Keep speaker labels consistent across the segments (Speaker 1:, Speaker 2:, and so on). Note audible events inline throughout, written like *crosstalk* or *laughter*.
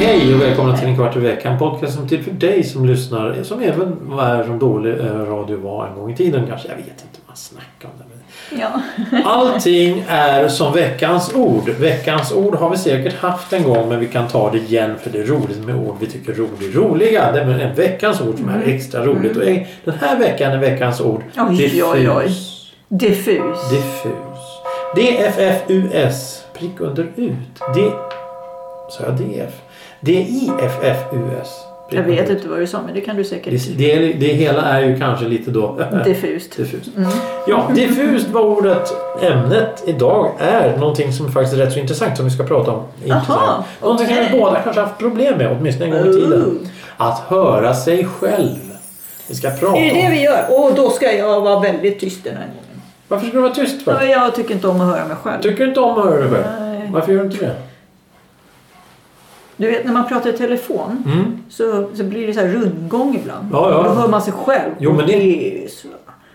Speaker 1: Hej och välkomna till en kvart i veckan. Podcast som är till för dig som lyssnar. Som även var här som dålig eh, radio var en gång i tiden kanske. Jag vet inte vad man snackar om. Det, men...
Speaker 2: Ja.
Speaker 1: Allting är som veckans ord. Veckans ord har vi säkert haft en gång men vi kan ta det igen för det är roligt med ord vi tycker är roligt roliga. Det är en veckans ord som är
Speaker 2: Mm.
Speaker 1: extra roligt. Och eh, den här veckan är veckans ord
Speaker 2: Oj,
Speaker 1: diffus.
Speaker 2: oj, oj. Diffus.
Speaker 1: Diffus. DFFUS. Prick under ut. D... Sa jag DF? DIFFUS. Prick
Speaker 2: jag vet
Speaker 1: under ut.
Speaker 2: inte vad du sa men det kan du säkert.
Speaker 1: Det, det, det hela är ju kanske lite då... *laughs*
Speaker 2: Diffust. Mm.
Speaker 1: diffust. Ja, diffust var ordet. Ämnet idag är någonting som faktiskt är rätt så intressant som vi ska prata om. Intressant. Någonting som vi
Speaker 2: okej.
Speaker 1: båda kanske haft problem med, åtminstone en gång i
Speaker 2: Ooh.
Speaker 1: tiden. Att höra sig själv. Vi ska prata
Speaker 2: Är det det
Speaker 1: om...
Speaker 2: vi gör? Och då ska jag vara väldigt tyst den här gången.
Speaker 1: Varför ska du vara tyst för?
Speaker 2: Ja, jag tycker inte om att höra mig själv.
Speaker 1: Tycker du inte om att höra dig själv?
Speaker 2: Nej.
Speaker 1: Varför gör du inte det?
Speaker 2: Du vet när man pratar i telefon
Speaker 1: Mm.
Speaker 2: så, så blir det så här rundgång ibland.
Speaker 1: Ja, ja.
Speaker 2: Då hör man sig själv.
Speaker 1: Jo, men det-
Speaker 2: det är så...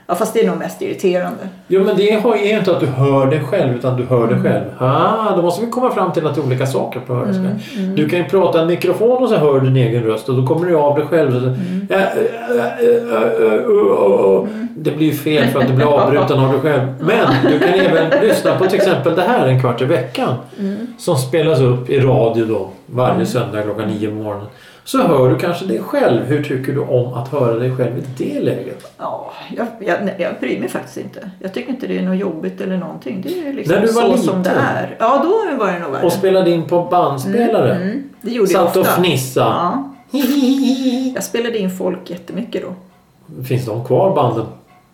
Speaker 2: Ja fast det är nog mest irriterande.
Speaker 1: Jo men det har- är inte att du hör dig själv utan du hör dig
Speaker 2: Mm.
Speaker 1: själv. Ah, då måste vi komma fram till att det är olika saker på att höra sig
Speaker 2: Mm,
Speaker 1: själv. Du kan ju prata i en mikrofon och så hör du din egen röst och då kommer du av dig själv. Och så,
Speaker 2: Mm.
Speaker 1: Ja, äh, äh, äh, äh, äh, äh. Det blir ju fel för att du blir avbruten av dig
Speaker 2: *laughs*
Speaker 1: själv. Men du kan även lyssna på till exempel det här en kvart i veckan.
Speaker 2: Mm.
Speaker 1: Som spelas upp i radio då varje söndag klockan nio på morgonen. Så hör du kanske dig själv. Hur tycker du om att höra dig själv i det läget?
Speaker 2: Ja, jag, jag, nej, jag bryr mig faktiskt inte. Jag tycker inte det är något jobbigt eller någonting. Det är liksom
Speaker 1: När du var
Speaker 2: så
Speaker 1: liten.
Speaker 2: som det är. Ja då var det nog värre.
Speaker 1: Och spelade in på bandspelare.
Speaker 2: Mm, det gjorde jag
Speaker 1: Satt
Speaker 2: ofta.
Speaker 1: och fnissa.
Speaker 2: Ja. Jag spelade in folk jättemycket då.
Speaker 1: *laughs* Finns de kvar banden?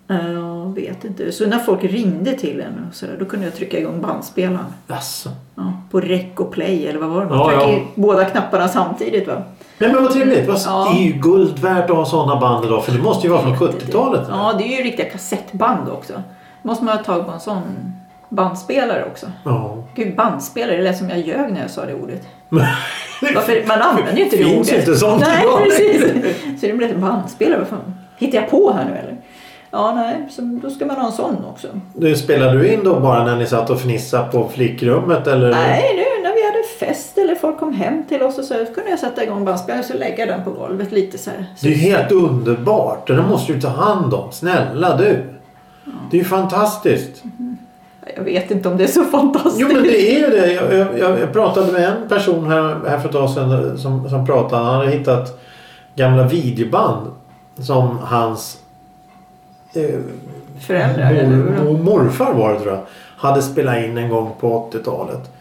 Speaker 2: Eh, Jag vet inte. Så när folk ringde till en och så där, då kunde jag trycka igång bandspelaren.
Speaker 1: Jaså.
Speaker 2: Ja, på rec och play eller vad var det? Man
Speaker 1: Ja,
Speaker 2: tryckte
Speaker 1: ja.
Speaker 2: i båda knapparna samtidigt va?
Speaker 1: Nej men vad trevligt. Vad-
Speaker 2: Ja.
Speaker 1: Det är ju guld värt att ha sådana band idag för det måste ju vara från 70-talet.
Speaker 2: Ja, det är ju riktiga kassettband också. Måste man ha tag på en sån bandspelare också.
Speaker 1: Ja.
Speaker 2: Gud, bandspelare, det lät som jag ljög när jag sa det ordet. Varför? Man använder ju inte det
Speaker 1: Finns
Speaker 2: ordet.
Speaker 1: inte sånt
Speaker 2: Nej,
Speaker 1: idag.
Speaker 2: precis. Så det blev en bandspelare. Vad fan? Hittar jag på här nu eller? Ja, nej, så då ska man ha en sån också.
Speaker 1: Nu spelade du in då bara när ni satt och fnissade på flickrummet eller?
Speaker 2: Nej, nu när vi hade fest eller folk kom hem till oss och så, så kunde jag sätta igång bandspelaren och så lägga den på golvet lite så här.
Speaker 1: Det är ju helt underbart. Det där måste du ta hand om. Snälla du. Det är ju fantastiskt.
Speaker 2: Jag vet inte om det är så fantastiskt.
Speaker 1: Jo men det är ju det. Jag, jag, jag pratade med en person här, här för ett tag sedan eh, som, som pratade. Han hade hittat gamla videoband som hans eh,
Speaker 2: Föräldrar eller
Speaker 1: mor,
Speaker 2: hur?
Speaker 1: mor, morfar var det tror jag. Hade spelat in en gång på 80-talet.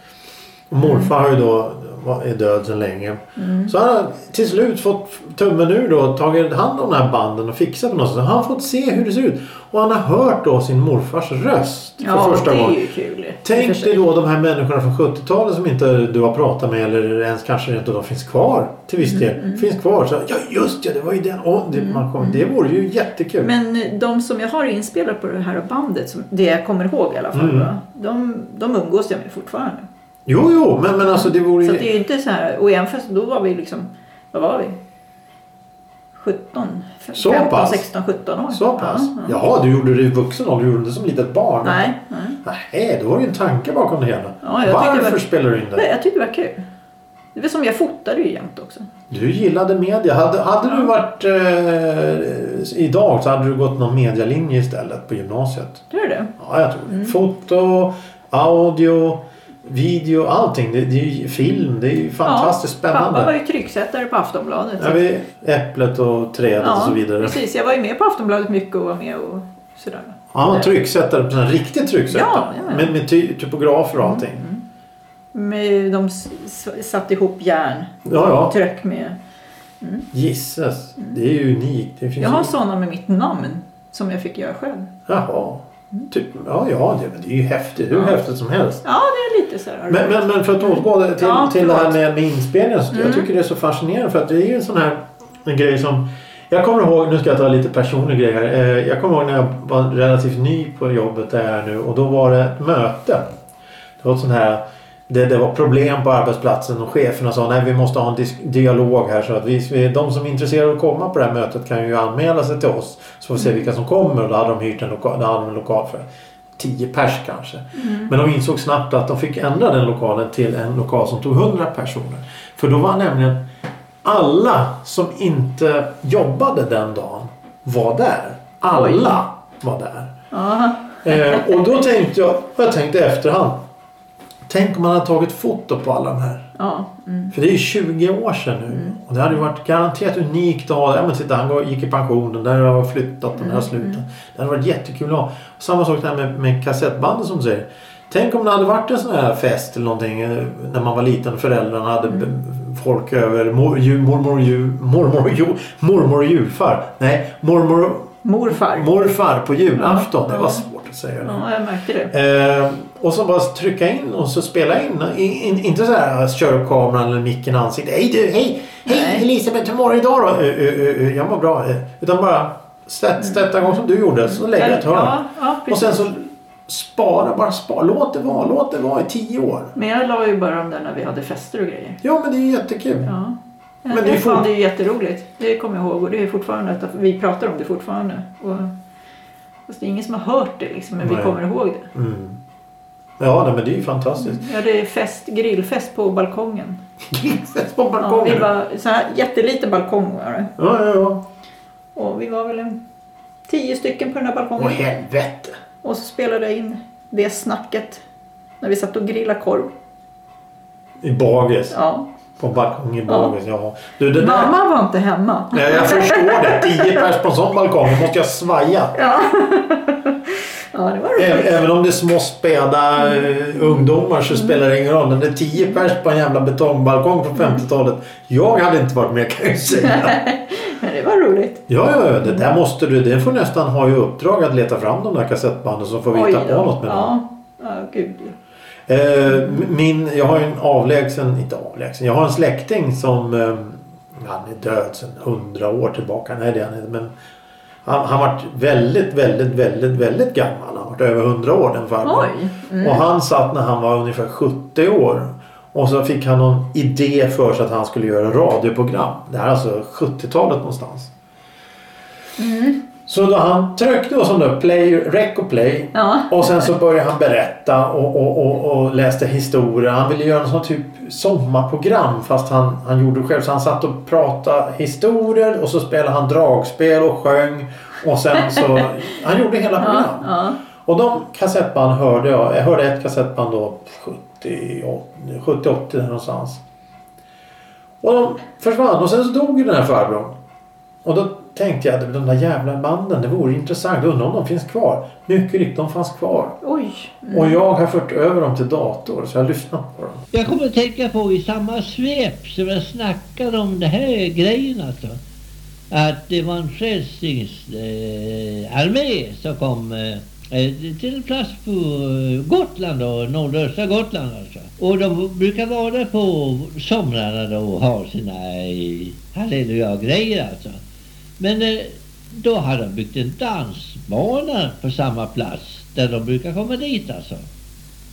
Speaker 1: Och Morfar har ju då var- är död sedan länge.
Speaker 2: Mm.
Speaker 1: Så han har till slut fått tummen ur då och tagit hand om de här banden och fixat dem. Så han har fått se hur det ser ut. Och han har hört då sin morfars röst för
Speaker 2: Ja,
Speaker 1: första
Speaker 2: det
Speaker 1: gången.
Speaker 2: är ju kul. i och för
Speaker 1: Tänk
Speaker 2: sig.
Speaker 1: dig då de här människorna från 70-talet som inte du har pratat med eller ens kanske inte de finns kvar till viss
Speaker 2: Mm,
Speaker 1: del. Finns kvar. Så, ja just ja, det var ju den. Oh, det, man kom, det vore ju jättekul.
Speaker 2: Men eh, de som jag har inspelat på det här bandet, som- det jag kommer ihåg i alla fall,
Speaker 1: Mm.
Speaker 2: va? De, de umgås jag med fortfarande.
Speaker 1: Jo, jo, men, men alltså det vore
Speaker 2: Så
Speaker 1: ju...
Speaker 2: att det är ju inte så här, och jämfört då var vi liksom, vad var vi? 17,
Speaker 1: Så
Speaker 2: 15,
Speaker 1: pass?
Speaker 2: 16, 17 år.
Speaker 1: Så pass?
Speaker 2: Ja, ja.
Speaker 1: Jaha, du gjorde det i vuxen ålder. Du gjorde det som litet barn?
Speaker 2: Nej, nej.
Speaker 1: Nej, då var det ju en tanke bakom det hela.
Speaker 2: Ja, jag tyckte det
Speaker 1: Varför
Speaker 2: var-
Speaker 1: spelar du in det?
Speaker 2: Nej, jag tyckte det var kul. Det var som jag fotade ju jämt också.
Speaker 1: Du gillade media. Hade, hade du varit eh, idag så hade du gått någon medialinje istället på gymnasiet.
Speaker 2: Gör du det?
Speaker 1: Ja, jag tror
Speaker 2: Mm.
Speaker 1: det. Foto, audio, video, allting. Det, det är ju film. Det är ju fantastiskt
Speaker 2: Pappa var
Speaker 1: spännande.
Speaker 2: ju trycksättare på Aftonbladet.
Speaker 1: Ja, vi, äpplet och trädet och så vidare.
Speaker 2: precis. Jag var ju med på Aftonbladet mycket och var med och sådär.
Speaker 1: Ja, man trycksättare. på sån här Riktig trycksättare.
Speaker 2: Ja, ja, Mm, ja.
Speaker 1: Med, med ty, typografer och allting.
Speaker 2: Men de s- s- satte ihop järn
Speaker 1: Ja, ja.
Speaker 2: och tryck med.
Speaker 1: Gisses, det är ju unikt. Det finns
Speaker 2: Jag har
Speaker 1: ju...
Speaker 2: sådana med mitt namn som jag fick göra själv.
Speaker 1: Jaha.
Speaker 2: Mm.
Speaker 1: Typ, ja, ja, det, men det är ju häftigt. Hur häftigt som helst.
Speaker 2: Ja, det är lite så här.
Speaker 1: Men, men, men för att återgå till,
Speaker 2: Ja,
Speaker 1: till det här
Speaker 2: förlåt.
Speaker 1: med,
Speaker 2: Mm.
Speaker 1: med inspelningen. Så Jag tycker det är så fascinerande för att det är ju en sån här en grej som... Jag kommer ihåg, nu ska jag ta lite personlig grej här. Eh, Jag kommer ihåg när jag var relativt ny på jobbet där jag är nu och då var det ett möte. Det var ett sånt här det, det var problem på arbetsplatsen och cheferna sa nej vi måste ha en dis- dialog här så att vi- vi, de som är intresserade av att komma på det här mötet kan ju anmäla sig till oss. Så får vi se vilka som kommer och då hade de hyrt en lokal, då hade de en lokal för 10 pers kanske. Men de insåg snabbt att de fick ändra den lokalen till en lokal som tog 100 personer. För då var nämligen alla som inte jobbade den dagen var där. Alla var där.
Speaker 2: Ja.
Speaker 1: Eh, och då tänkte jag, jag tänkte i efterhand. Tänk om man hade tagit foto på alla de här.
Speaker 2: Ja. Mm.
Speaker 1: För det är ju 20 år sedan nu. Och det hade ju varit garanterat unikt att ha. Ja men titta han går- gick i pension. Den där har flyttat.
Speaker 2: Mm,
Speaker 1: Den där har slutat. Det hade varit jättekul att ha. Samma sak där med, med kassettbandet som du säger. Tänk om det hade varit en sån här fest eller någonting. eh, När man var liten. Föräldrarna hade
Speaker 2: Mm.
Speaker 1: b- folk över. Mor, ju, mormor, ju, mormor, ju, mormor och djurfar. Nej, mormor,
Speaker 2: Morfar.
Speaker 1: morfar på julafton. Det var svårt att säga. det.
Speaker 2: Ja, jag märkte det.
Speaker 1: Eh, och så bara trycka in och så spela in. I, in inte så här kör upp kameran eller micken i ansiktet. Hej du, hej! Hej
Speaker 2: Nej.
Speaker 1: Elisabeth, hur mår du idag då? Eh, eh, eh, eh, jag mår bra. eh." Utan bara stöt- stötta igång som du gjorde så lägger jag ett hörn.
Speaker 2: Mm. ja, ja,
Speaker 1: Och
Speaker 2: precis.
Speaker 1: sen så spara, bara spara. Låt det vara, låt det vara i tio år.
Speaker 2: Men jag la ju bara dem där när vi hade fester och grejer.
Speaker 1: Ja men det är ju jättekul.
Speaker 2: Ja.
Speaker 1: Men
Speaker 2: Men
Speaker 1: det är
Speaker 2: det, jag
Speaker 1: fort-
Speaker 2: fann det ju jätteroligt. Det kommer jag ihåg och det är fortfarande att vi pratar om det fortfarande. Och, fast det är ingen som har hört det liksom, men
Speaker 1: Nej.
Speaker 2: vi kommer ihåg det.
Speaker 1: Mm. Ja nej, men det är ju *laughs* fantastiskt.
Speaker 2: Vi hade fest, grillfest på balkongen.
Speaker 1: Grillfest på
Speaker 2: Ja, vi
Speaker 1: balkongen. Ja,
Speaker 2: var så här jätteliten balkong var det.
Speaker 1: ja, ja.
Speaker 2: Och vi var väl en tio stycken på den här balkongen.
Speaker 1: Åh helvete.
Speaker 2: Och så spelade jag in det snacket när vi satt och grillade korv.
Speaker 1: I bagis.
Speaker 2: Ja.
Speaker 1: På balkongen i
Speaker 2: Ja.
Speaker 1: bagis. Ja. Du, det där-
Speaker 2: Mamma var inte hemma.
Speaker 1: Nej, jag förstår det. 10 pers på en sån balkong. Då måste jag svaja.
Speaker 2: *laughs* Ja, det var
Speaker 1: Ä-
Speaker 2: roligt.
Speaker 1: Även om det är små späda eh, ungdomar så spelar det ingen roll. Men det är 10 pers på en jävla betongbalkong från
Speaker 2: Mm.
Speaker 1: 50-talet. Jag hade inte varit med kan jag ju säga.
Speaker 2: Men det var roligt.
Speaker 1: Ja, ja, ja. Det där måste du. Det får nästan ha i uppdrag att leta fram de där kassettbanden så får vi hitta på
Speaker 2: då.
Speaker 1: något med dem.
Speaker 2: ja. ja, gud.
Speaker 1: Eh, min, jag har ju en avlägsen, inte avlägsen, jag har en släkting som eh, han är död sedan hundra år tillbaka. Nej det är han inte men han, han var väldigt, väldigt, väldigt, väldigt gammal. Han var över hundra år den farbrorn.
Speaker 2: Oj. Mm.
Speaker 1: Och han satt när han var ungefär 70 år. Och så fick han någon idé för sig att han skulle göra radioprogram. Det här är alltså 70-talet någonstans. Så då han tryckte och sån där play, rec och play.
Speaker 2: Ja.
Speaker 1: Och sen så började han berätta och, och, och, och läste historia. Han ville göra en sån typ sommarprogram fast han, han gjorde det själv. Så han satt och pratade historier och så spelade han dragspel och sjöng. Och sen så... han gjorde hela
Speaker 2: Ja,
Speaker 1: programmet.
Speaker 2: ja.
Speaker 1: Och de kassettband hörde jag. Jag hörde ett kassettband då 70, 70-80 där någonstans. Och de försvann och sen så dog ju den här farbrorn. Och då tänkte jag att de där jävla banden, det vore intressant. Undrar om de finns kvar. Mycket riktigt, de fanns kvar.
Speaker 2: Oj.
Speaker 1: Och jag har fört över dem till dator så jag har lyssnat på dem.
Speaker 3: Jag kommer att tänka på i samma svep som jag snackade om det här grejen alltså. Att det var en frälsningsarmé eh, armé som kom eh, eh, till en plats på eh, Gotland då, nordöstra Gotland alltså. Och de brukar vara där på somrarna då och ha sina eh, halleluja-grejer alltså. Men eh, då hade de byggt en dansbana på samma plats där de brukar komma dit alltså.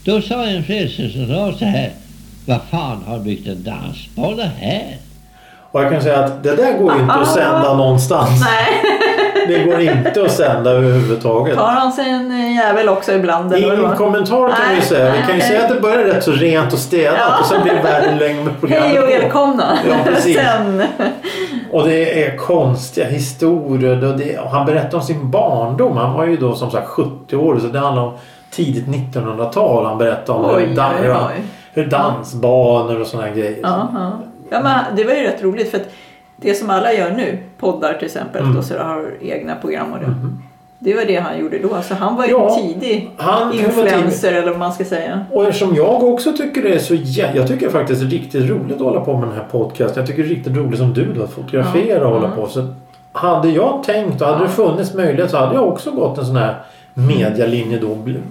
Speaker 3: Då sa en frälsare som sa så här. Vad fan har byggt en dansbana här?
Speaker 1: Och jag kan säga att det där går ju inte att sända någonstans.
Speaker 2: *laughs* Nej,
Speaker 1: Det går inte att sända överhuvudtaget.
Speaker 2: tar han sig en eh, jävel också ibland? eller vad det
Speaker 1: Ingen
Speaker 2: var?
Speaker 1: kommentar kan vi
Speaker 2: Nej,
Speaker 1: säga. Vi kan ju
Speaker 2: nej.
Speaker 1: säga att det börjar rätt så rent och städat
Speaker 2: Ja.
Speaker 1: och sen blir det värre ju längre med programmet
Speaker 2: Hej och
Speaker 1: går.
Speaker 2: välkomna.
Speaker 1: Ja, precis.
Speaker 2: *laughs* Sen.
Speaker 1: Och det är konstiga historier. Och det, och han berättar om sin barndom. Han var ju då som sagt 70 år så det handlar om tidigt 1900-tal. Han berättar om
Speaker 2: Oj,
Speaker 1: hur, dan-
Speaker 2: oj,
Speaker 1: hur han-
Speaker 2: oj.
Speaker 1: hur dansbanor och sådana grejer.
Speaker 2: Ja, ja. ja, men det var ju rätt roligt för att det som alla gör nu, poddar till exempel,
Speaker 1: Mm.
Speaker 2: då, så har egna program och det. Det var det han gjorde då, så han var ju
Speaker 1: Mm-hmm. Ja,
Speaker 2: en tidig
Speaker 1: han var
Speaker 2: influencer eller vad man ska säga.
Speaker 1: Och eftersom jag också tycker det är så jä- Jag tycker faktiskt det är riktigt roligt att hålla på med den här podcasten. Jag tycker det är riktigt roligt som du då att fotografera och hålla på. Så hade jag tänkt och hade det funnits möjlighet så hade jag också gått en sån här medialinje då. Bl-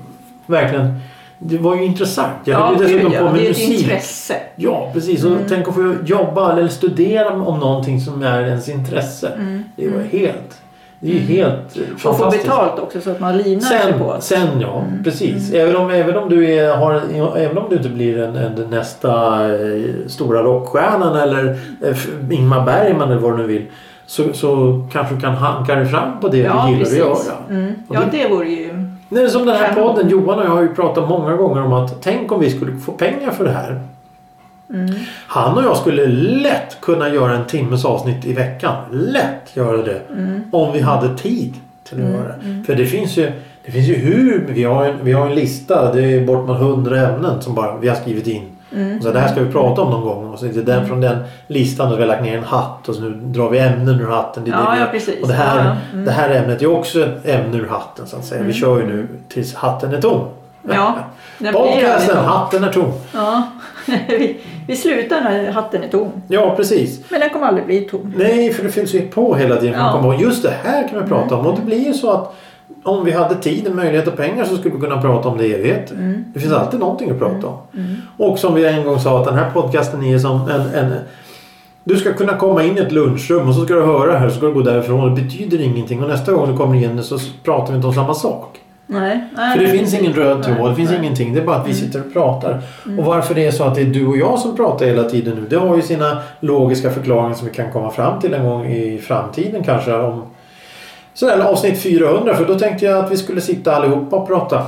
Speaker 1: Verkligen. Det var ju intressant. Jag höll ju dessutom
Speaker 2: ja,
Speaker 1: på med
Speaker 2: det är ett
Speaker 1: musik.
Speaker 2: intresse. Mm.
Speaker 1: Ja, precis. Och tänk att få jobba eller studera om någonting som är ens intresse. Det var helt... Det är ju helt
Speaker 2: Mm. Och få
Speaker 1: fantastiskt.
Speaker 2: betalt också så att man linar sig på.
Speaker 1: Sen,
Speaker 2: Mm.
Speaker 1: sen ja, precis. Även, om, även, om du är, har, även om du inte blir en, en, nästa eh, stora rockstjärnan eller eh, F- Ingmar Bergman eller vad du nu vill. Så, så kanske du kan hanka dig fram på det
Speaker 2: ja,
Speaker 1: du gillar
Speaker 2: precis.
Speaker 1: att göra.
Speaker 2: Mm.
Speaker 1: Och
Speaker 2: Ja,
Speaker 1: det-
Speaker 2: det vore ju...
Speaker 1: Det är som den här
Speaker 2: Kanon.
Speaker 1: podden. Johan och jag har ju pratat många gånger om att tänk om vi skulle få pengar för det här.
Speaker 2: Mm.
Speaker 1: Han och jag skulle lätt kunna göra en timmes avsnitt i veckan. Lätt göra det.
Speaker 2: Mm.
Speaker 1: Om vi hade tid till att göra det. För det finns ju, det finns ju hur... Vi har, en, vi har en lista. Det är bortemot hundra ämnen som bara vi har skrivit in.
Speaker 2: Mm.
Speaker 1: Och så det här ska vi prata om någon gång. Och så är det den från den listan och vi har lagt ner en hatt och så nu drar vi ämnen ur hatten. Det är det
Speaker 2: Ja,
Speaker 1: vi gör.
Speaker 2: ja, precis.
Speaker 1: Och det här,
Speaker 2: Ja, mm. ja.
Speaker 1: det här ämnet är också ett ämne ur hatten så att säga. Vi kör ju nu tills hatten är tom.
Speaker 2: Ja. Den blir
Speaker 1: Podcasten,
Speaker 2: ju-
Speaker 1: hatten är tom.
Speaker 2: Ja. *laughs* vi, vi slutar när hatten är tom.
Speaker 1: Ja, precis.
Speaker 2: Men den kommer aldrig bli tom.
Speaker 1: Nej, för det fylls ju på hela tiden. Man
Speaker 2: Ja.
Speaker 1: kommer ihåg, just det här kan vi prata om. Och det blir ju så att om vi hade tid, möjlighet och pengar så skulle vi kunna prata om det i evigheter. Det finns alltid någonting att prata om. Och som vi en gång sa att den här podcasten är som en, en... Du ska kunna komma in i ett lunchrum och så ska du höra det här så ska du gå därifrån. Det betyder ingenting och nästa gång du kommer in så pratar vi inte om samma sak.
Speaker 2: Nej. nej
Speaker 1: För det
Speaker 2: nej,
Speaker 1: finns
Speaker 2: precis.
Speaker 1: ingen röd tråd, det
Speaker 2: Nej,
Speaker 1: finns
Speaker 2: nej.
Speaker 1: ingenting. Det är bara att vi
Speaker 2: Mm.
Speaker 1: sitter och pratar. Och varför det är så att det är du och jag som pratar hela tiden nu. Det har ju sina logiska förklaringar som vi kan komma fram till en gång i framtiden kanske. Om sådär avsnitt 400. För då tänkte jag att vi skulle sitta allihopa och prata.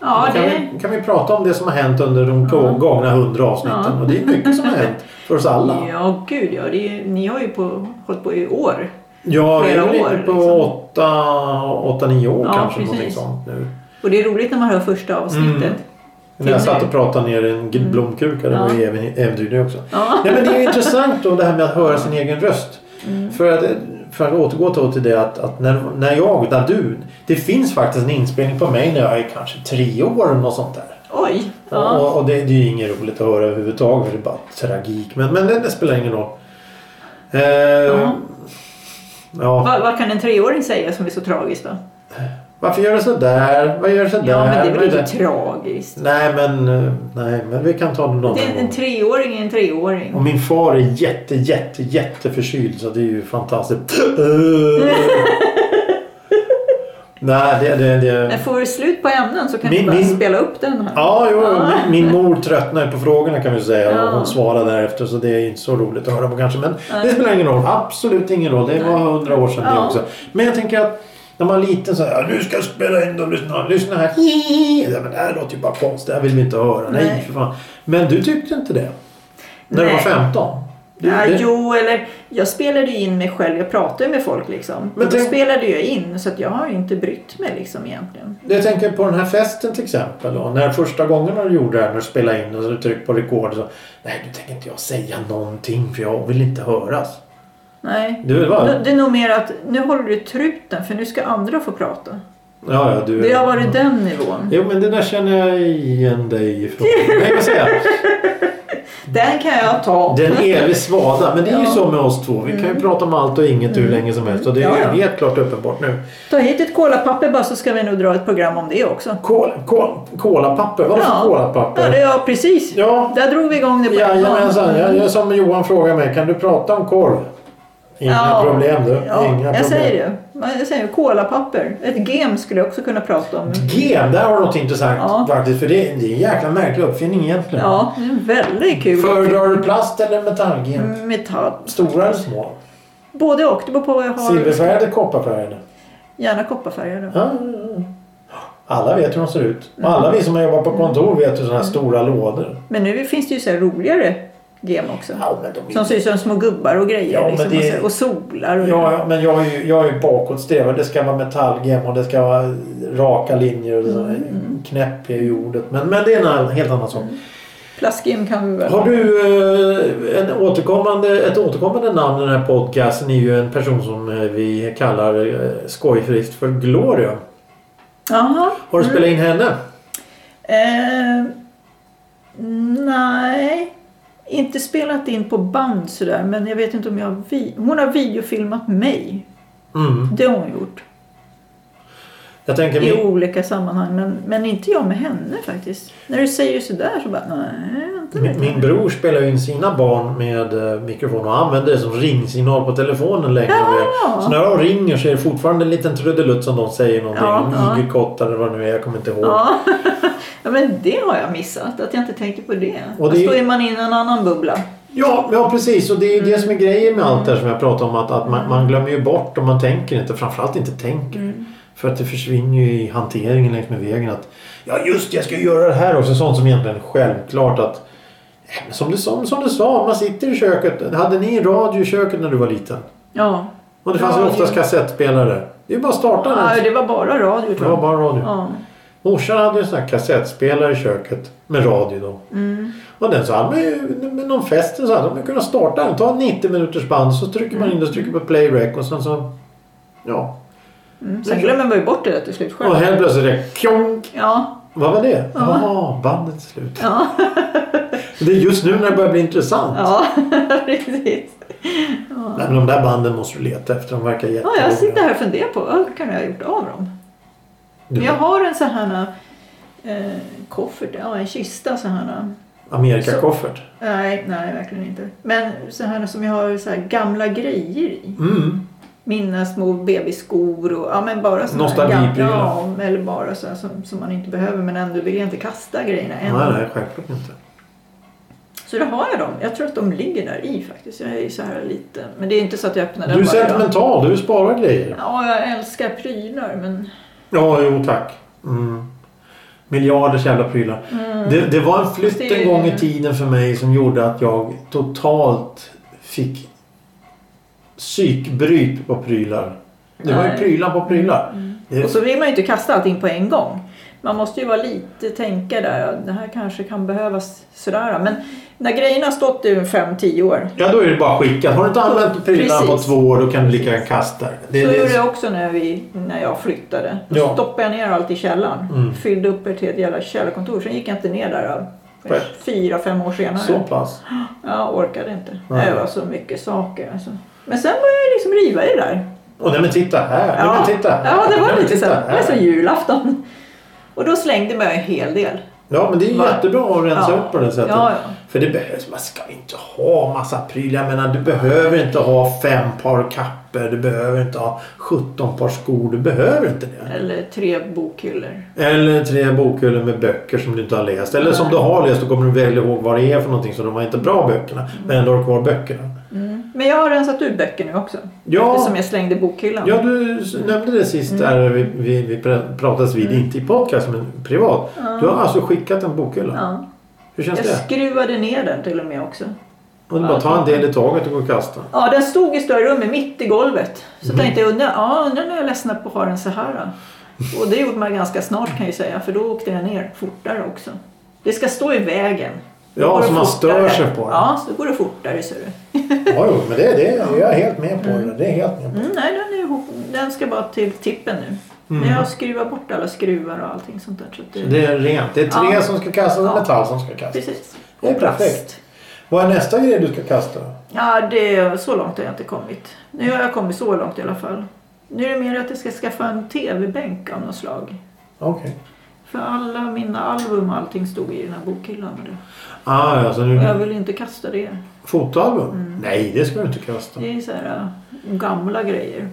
Speaker 2: Ja,
Speaker 1: då kan,
Speaker 2: det...
Speaker 1: vi, kan vi prata om det som har hänt under de
Speaker 2: Ja.
Speaker 1: gångna 100 avsnitten.
Speaker 2: Ja.
Speaker 1: Och det är mycket som har hänt för oss alla.
Speaker 2: Ja, gud ja. Det är, ju- ni har ju på, hållit på i år.
Speaker 1: Ja, vi är
Speaker 2: Flera
Speaker 1: väl
Speaker 2: år,
Speaker 1: inne på
Speaker 2: liksom.
Speaker 1: 8-9 år
Speaker 2: Ja,
Speaker 1: kanske. Någonting
Speaker 2: precis.
Speaker 1: sånt nu.
Speaker 2: Och det är roligt när man hör första avsnittet.
Speaker 1: Mm. När jag
Speaker 2: Till
Speaker 1: satt
Speaker 2: nu.
Speaker 1: och pratade ner i en gul blomkruka. Det var ju även äventyr det också.
Speaker 2: Mm. Ja.
Speaker 1: Nej, men det är ju intressant då det här med att höra sin egen röst.
Speaker 2: Mm.
Speaker 1: För, att, för att återgå då till det att, att när, när jag, när du. Det finns faktiskt en inspelning på mig när jag är kanske tre år eller något sånt där.
Speaker 2: Oj. Ja.
Speaker 1: Och, och det, det är ju inget roligt att höra överhuvudtaget för det är bara tragik. Men, men det, det spelar ingen roll. Eh, ja.
Speaker 2: Vad, vad kan en treåring säga som är så tragiskt då?
Speaker 1: Varför gör du sådär? Vad gör du sådär?
Speaker 2: Ja, men det är
Speaker 1: Vad
Speaker 2: väl inte
Speaker 1: det?
Speaker 2: tragiskt?
Speaker 1: Nej men, eh, nej men vi kan ta det någon
Speaker 2: Det är
Speaker 1: annan
Speaker 2: en
Speaker 1: gång.
Speaker 2: treåring är en treåring.
Speaker 1: Och min far är jätte, jätte, jätte förkyld så det är ju fantastiskt. *laughs* Nej, det... det,
Speaker 2: När
Speaker 1: det.
Speaker 2: får vi slut på ämnen så kan
Speaker 1: Min-
Speaker 2: du bara
Speaker 1: min-
Speaker 2: spela upp den här.
Speaker 1: Ja, jo, jo,
Speaker 2: Ah.
Speaker 1: min, min mor tröttnar ju på frågorna kan vi säga
Speaker 2: Ja.
Speaker 1: och hon svarar därefter så det är inte så roligt att höra på kanske. Men det spelar ingen roll. Absolut ingen roll. Det var hundra år sedan det
Speaker 2: Ja.
Speaker 1: också. Men jag tänker att när man är liten så här, nu ska jag spela in och lyssna, lyssna här. Ja, men det här låter ju bara konstigt, det här vill vi inte höra. Nej,
Speaker 2: Nej.
Speaker 1: för fan. Men du tyckte inte det? När du
Speaker 2: Nej.
Speaker 1: var 15? Du-
Speaker 2: Ja,
Speaker 1: det-
Speaker 2: jo, eller jag spelade ju in mig själv. Jag pratade ju med folk liksom.
Speaker 1: Men
Speaker 2: Men då
Speaker 1: tänk-
Speaker 2: spelade jag in så att jag har ju inte brytt mig liksom egentligen.
Speaker 1: Jag tänker på den här festen till exempel. Då, när första gången du gjorde det här, när du spelade in och så tryckte på rekord. Så, Nej, nu tänker inte jag säga någonting för jag vill inte höras.
Speaker 2: Nej.
Speaker 1: Du,
Speaker 2: Nu-
Speaker 1: va?
Speaker 2: Det är nog mer att nu håller du truten för nu ska andra få prata.
Speaker 1: Ja, ja, du.
Speaker 2: Det har varit den nivån.
Speaker 1: Jo, men det där känner jag igen dig ifrån. Nej, vad säger jag?
Speaker 2: Den kan jag ta.
Speaker 1: Den evig svada. Men det är ju
Speaker 2: Ja. Mm.
Speaker 1: så med oss två. Vi kan ju prata om allt och inget hur länge som helst. Och det är
Speaker 2: Ja, ja.
Speaker 1: ju helt klart uppenbart nu.
Speaker 2: Ta hit ett kolapapper bara så ska vi nog dra ett program om det också.
Speaker 1: Kol, kol, kolapapper. Vadå för
Speaker 2: Ja, det,
Speaker 1: kolapapper?
Speaker 2: ja precis.
Speaker 1: Ja.
Speaker 2: Där drog vi igång det på en gång.
Speaker 1: Jajamensan. Jag, jag, som Johan frågar mig. Kan du prata om korv? Inga
Speaker 2: Ja.
Speaker 1: problem du.
Speaker 2: Ja,
Speaker 1: Inga
Speaker 2: jag
Speaker 1: problem.
Speaker 2: säger det. Men Jag säger kolapapper. Ett gem skulle jag också kunna prata om.
Speaker 1: Gem, där har du något intressant
Speaker 2: Ja.
Speaker 1: faktiskt. För det, det är en jäkla märklig uppfinning egentligen.
Speaker 2: Ja, det är en väldigt kul.
Speaker 1: Föredrar du plast eller metallgem?
Speaker 2: Mm. Metall.
Speaker 1: Stora eller små?
Speaker 2: Både och. Det beror på vad jag har.
Speaker 1: Silverfärgade, kopparfärgade?
Speaker 2: Gärna kopparfärgade.
Speaker 1: Ja, ja, ja. Alla vet hur de ser ut. Och
Speaker 2: Mm.
Speaker 1: alla vi som har jobbat på kontor vet hur sådana här stora lådor.
Speaker 2: Men nu finns det ju så här roligare gem också.
Speaker 1: Ja, men, de
Speaker 2: Som
Speaker 1: är...
Speaker 2: ser ut som små gubbar och grejer.
Speaker 1: Ja, men
Speaker 2: liksom,
Speaker 1: det-
Speaker 2: och, så- och solar. Och
Speaker 1: ja, ja, men jag är ju, jag är ju bakåtsträvare. Det ska vara metallgem och det ska vara raka linjer. Och sådana här.
Speaker 2: Mm.
Speaker 1: Knäpp är ju ordet. Men, men det är en annan- helt annan sak.
Speaker 2: Plastgem kan vi väl
Speaker 1: Har du eh, en återkommande, ett återkommande namn i den här podcasten är ju en person som eh, vi kallar eh, skojfriskt för Gloria.
Speaker 2: Jaha.
Speaker 1: Har du spelat in henne?
Speaker 2: Eh, nej. Inte spelat in på band sådär. Men jag vet inte om jag har... Vi... Hon har videofilmat mig.
Speaker 1: Mm.
Speaker 2: Det har hon gjort.
Speaker 1: Jag tänker
Speaker 2: i
Speaker 1: min,
Speaker 2: olika sammanhang. Men, men inte jag med henne faktiskt. När du säger sådär så bara, nej vänta
Speaker 1: min,
Speaker 2: lite.
Speaker 1: min bror spelar ju in sina barn med eh, mikrofon och använder det som ringsignal på telefonen längre.
Speaker 2: Ja.
Speaker 1: Så när de ringer så är det fortfarande en liten trudelutt som de säger någonting
Speaker 2: Ja,
Speaker 1: om
Speaker 2: ja.
Speaker 1: igelkott eller vad det nu är. Jag kommer inte ihåg.
Speaker 2: Ja. *laughs* ja, men det har jag missat. Att jag inte tänkte på det.
Speaker 1: Och
Speaker 2: Och
Speaker 1: det-
Speaker 2: Då är man in i en annan bubbla.
Speaker 1: Ja, ja precis. Och det är ju
Speaker 2: Mm.
Speaker 1: det som är grejen med allt det här som jag pratade om. Att, att man, man glömmer ju bort och man tänker inte. Framförallt inte tänker.
Speaker 2: Mm.
Speaker 1: För att det försvinner ju i hanteringen längs med vägen. Att ja just det, jag ska göra det här också. Sånt som egentligen är självklart att eh, som du, som, som du sa, man sitter i köket. Hade ni radio i köket när du var liten?
Speaker 2: Ja.
Speaker 1: Och det fanns ju
Speaker 2: Radio.
Speaker 1: oftast kassettspelare. Det är ju bara att starta den.
Speaker 2: ja, det var bara radio
Speaker 1: Det
Speaker 2: tror
Speaker 1: var
Speaker 2: jag.
Speaker 1: bara radio.
Speaker 2: Ja.
Speaker 1: Morsan hade ju en sån här kassettspelare i köket med radio då.
Speaker 2: Mm.
Speaker 1: Och den så hade man ju med någon fest så hade man kunnat starta den. Ta 90 minuters band så trycker man in det och trycker på play rec och sen så... Ja.
Speaker 2: Mm. Sen glömmer man ju bort det där till slut
Speaker 1: Och
Speaker 2: själv.
Speaker 1: helt plötsligt är det kjonk.
Speaker 2: Ja,
Speaker 1: Vad var det? Jaha, bandet är slut.
Speaker 2: ja,
Speaker 1: *laughs* Det är just nu när det börjar bli intressant.
Speaker 2: ja, *laughs* precis.
Speaker 1: Nej, men de där banden måste du leta efter. De verkar
Speaker 2: Ja,
Speaker 1: jätteroliga.
Speaker 2: jag sitter här och funderar på vad kan jag ha gjort av dem? Men
Speaker 1: Du,
Speaker 2: jag har en sån här eh, koffert, ja en kista så här.
Speaker 1: Amerikakoffert.
Speaker 2: Nej, nej verkligen inte. Men så här som jag har så här gamla grejer i.
Speaker 1: Mm.
Speaker 2: Mina små bebisskor och ja men bara såna här
Speaker 1: Nostalgiprylar.
Speaker 2: gamla. Ja, eller bara så här som, som man inte behöver men ändå vill jag inte kasta grejerna än.
Speaker 1: Nej, nej, självklart inte.
Speaker 2: Så då har jag dem. Jag tror att de ligger där i faktiskt. Jag är ju så här lite, men det är inte så att jag öppnar den
Speaker 1: Du är
Speaker 2: varje dag.
Speaker 1: sentimental. Du sparar grejer.
Speaker 2: Ja, jag älskar prylar men
Speaker 1: Ja, jo tack. Mm. Miljarders jävla prylar.
Speaker 2: Mm.
Speaker 1: Det, det var en flytt
Speaker 2: Fast det är
Speaker 1: en
Speaker 2: ju-
Speaker 1: gång i tiden för mig som gjorde att jag totalt fick psykbryt på prylar. Det var ju
Speaker 2: Nej.
Speaker 1: prylar på prylar. Det,
Speaker 2: Och så vill man ju inte kasta allting på en gång. Man måste ju vara lite tänka där, ja, det här kanske kan behövas sådär. Men när grejerna har stått i 5-10 år,
Speaker 1: ja, då är det bara skickat. Har du inte använt prylarna på
Speaker 2: Precis.
Speaker 1: två år då kan du lika gärna kasta det. det.
Speaker 2: så
Speaker 1: det-
Speaker 2: gjorde jag också när, vi, när jag flyttade. Då
Speaker 1: Ja.
Speaker 2: stoppade jag ner allt i källaren,
Speaker 1: Mm.
Speaker 2: fyllde upp det till ett jävla källarkontor. Sen gick jag inte ner där ja,
Speaker 1: Nej.
Speaker 2: förrän fyra, fem år senare.
Speaker 1: Så pass.
Speaker 2: Jag orkade inte.
Speaker 1: Nej.
Speaker 2: Det var så mycket saker. Alltså. Men sen började jag liksom riva i det där.
Speaker 1: Och nej men titta här. Nej, men titta här.
Speaker 2: ja det
Speaker 1: Nej,
Speaker 2: var
Speaker 1: men
Speaker 2: lite så.
Speaker 1: titta
Speaker 2: Det var
Speaker 1: här.
Speaker 2: som julafton. Och då slängde man ju en hel del.
Speaker 1: Ja men det är ju
Speaker 2: Va?
Speaker 1: jättebra att rensa
Speaker 2: Ja.
Speaker 1: upp på det sättet.
Speaker 2: Ja, ja.
Speaker 1: För det behövs, man ska inte ha massa prylar. Jag menar, du behöver inte ha fem par kappor. Du behöver inte ha 17 par skor. Du behöver inte det.
Speaker 2: Eller tre bokhyllor.
Speaker 1: Eller tre bokhyllor med böcker som du inte har läst. Eller som du har läst och kommer du väl ihåg vad det är för någonting. Så de var inte bra böckerna.
Speaker 2: Mm.
Speaker 1: Men ändå har du kvar böckerna.
Speaker 2: Men jag har rensat ut böcker nu också.
Speaker 1: Ja.
Speaker 2: Eftersom jag Mm. slängde bokhyllan.
Speaker 1: Ja, du s- nämnde det sist där vi, vi, vi pra- pratades
Speaker 2: Mm.
Speaker 1: vid. Inte i podcast men privat. Du har alltså skickat en bokhylla.
Speaker 2: Ja.
Speaker 1: Hur känns
Speaker 2: Jag
Speaker 1: det?
Speaker 2: skruvade ner den till och med också.
Speaker 1: Och du bara ta en del i taget och gå och kasta.
Speaker 2: Ja, den stod i större rummet, mitt i golvet. Så
Speaker 1: Mhm.
Speaker 2: tänkte jag, undrar, ja, undrar när jag ledsnar på att ha den så här. då. Och det gjorde man ganska snart kan jag ju säga, för då åkte jag ner fortare också. Det ska stå i vägen. Då
Speaker 1: Ja,
Speaker 2: går det
Speaker 1: så man stör
Speaker 2: fortare.
Speaker 1: sig på den.
Speaker 2: Ja, så går det fortare ser du.
Speaker 1: Ja, jo, men det, det jag är helt med på det. Det är helt med på.
Speaker 2: Mm, nej, den, är, ihop- den ska bara till tippen nu. Men jag har skruvat bort alla skruvar och allting sånt där. Så att det,
Speaker 1: Mhm. Det är rent. Det är tre
Speaker 2: Ja.
Speaker 1: som ska kastas och
Speaker 2: Ja.
Speaker 1: metall som ska kastas.
Speaker 2: Precis.
Speaker 1: Det är
Speaker 2: Och plast.
Speaker 1: perfekt. Vad är nästa grej du ska kasta?
Speaker 2: Ja, det, så långt har jag inte kommit. Nu har jag kommit så långt i alla fall. Nu är det mer att jag ska skaffa en tv-bänk av något slag.
Speaker 1: Okej.
Speaker 2: För alla mina album och allting stod i den här bokhyllan. Och det.
Speaker 1: Ah, ja, så nu...
Speaker 2: Och jag vill Mm. inte kasta det.
Speaker 1: Fotoalbum? Nej, det ska du inte kasta.
Speaker 2: Det är så här äh, gamla grejer.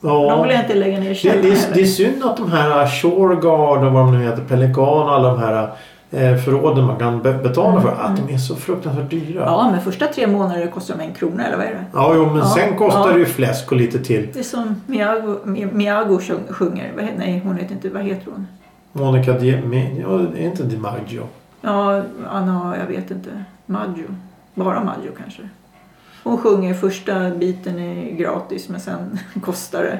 Speaker 2: De
Speaker 1: Ja.
Speaker 2: vill jag inte lägga ner i
Speaker 1: Det,
Speaker 2: källaren
Speaker 1: det, är, det är
Speaker 2: heller.
Speaker 1: synd att de här Shoreguard och vad de nu heter, Pelikan och alla de här eh, förråden man kan be- betala för, att de är så fruktansvärt dyra. Ja,
Speaker 2: Mm. Ja, men första tre månader kostar de en krona, eller vad är det?
Speaker 1: jo, men
Speaker 2: Ja,
Speaker 1: sen kostar
Speaker 2: ja.
Speaker 1: det ju fläsk och lite till.
Speaker 2: Det är som Miago, Mi- Miago sjung- sjunger. Vad he- Nej, hon heter inte... Vad heter hon?
Speaker 1: Monica Di... Mi- ja, är inte DiMaggio?
Speaker 2: Ja, Anna, jag vet inte. Maggio. Bara Maggio kanske. Hon sjunger första biten är gratis men sen *laughs* kostar det.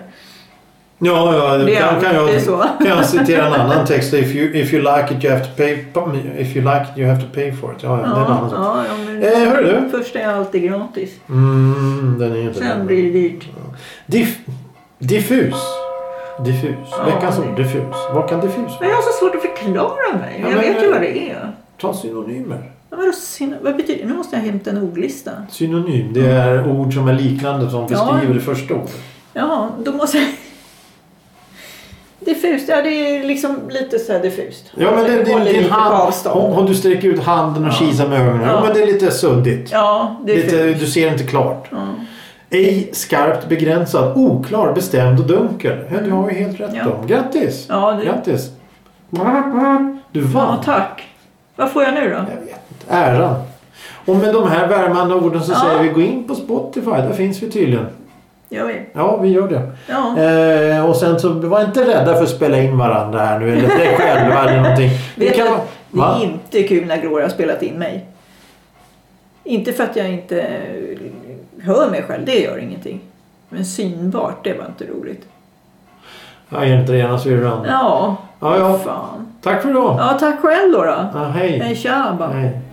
Speaker 1: Ja, ja
Speaker 2: Det är
Speaker 1: kan, kan, jag,
Speaker 2: alltid så.
Speaker 1: kan jag citera en annan text. If you, if you like it you have to pay If you like it you have to pay for it. Ja, ja, det är en annan sak.
Speaker 2: ja, ja, men
Speaker 1: Eh, hörru du.
Speaker 2: Första är alltid gratis.
Speaker 1: Mm, den är ju inte
Speaker 2: Sen
Speaker 1: den.
Speaker 2: blir det dyrt.
Speaker 1: Diff, diffus. Diffus.
Speaker 2: Ja,
Speaker 1: Veckans
Speaker 2: det-
Speaker 1: ord. Diffus. Vad kan diffus
Speaker 2: Men
Speaker 1: vara?
Speaker 2: jag har så svårt att förklara mig.
Speaker 1: Ja,
Speaker 2: jag
Speaker 1: men-
Speaker 2: vet ju vad det är.
Speaker 1: Ta synonymer.
Speaker 2: Men vadå syn- vad betyder Nu måste jag hämta en ordlista.
Speaker 1: Synonym. Det är ord som är liknande som beskriver det första ordet.
Speaker 2: Ja, då måste jag... *laughs* Diffust, ja det är liksom lite så här diffust.
Speaker 1: Ja, men det,
Speaker 2: Håller
Speaker 1: din, din
Speaker 2: lite på
Speaker 1: hand,
Speaker 2: avstånd.
Speaker 1: om, om du sträcker ut handen och kisar med ögonen. Ja.
Speaker 2: Ja.
Speaker 1: men det är lite suddigt.
Speaker 2: Ja, det är
Speaker 1: lite,
Speaker 2: fult.
Speaker 1: du ser inte klart.
Speaker 2: Ja.
Speaker 1: Ej skarpt begränsad, oklar, bestämd och dunkel. Ja, du har ju helt rätt
Speaker 2: Ja.
Speaker 1: då. Grattis!
Speaker 2: Ja, det-
Speaker 1: Grattis! Du vann!
Speaker 2: ja, tack. Vad får jag nu då?
Speaker 1: Jag vet inte. Äran. Och med de här värmande orden så
Speaker 2: Ja.
Speaker 1: säger vi gå in på Spotify. Där finns vi tydligen.
Speaker 2: Jag vet.
Speaker 1: Ja, vi gör det.
Speaker 2: Ja.
Speaker 1: Eh, och sen så var inte rädda för att spela in varandra här nu. Eller dig själva eller någonting.
Speaker 2: *laughs* Vet du,
Speaker 1: vara-
Speaker 2: det
Speaker 1: Va?
Speaker 2: är inte kul när Gloria har spelat in mig. Inte för att jag inte hör mig själv, det gör ingenting. Men synbart, det var inte roligt.
Speaker 1: Ja, är inte det ena så är det det andra.
Speaker 2: Ja,
Speaker 1: Ja, ja.
Speaker 2: fan.
Speaker 1: Tack för idag.
Speaker 2: Ja, tack själv då. då.
Speaker 1: Ja, hej.
Speaker 2: Hej, tja bara.
Speaker 1: Hej.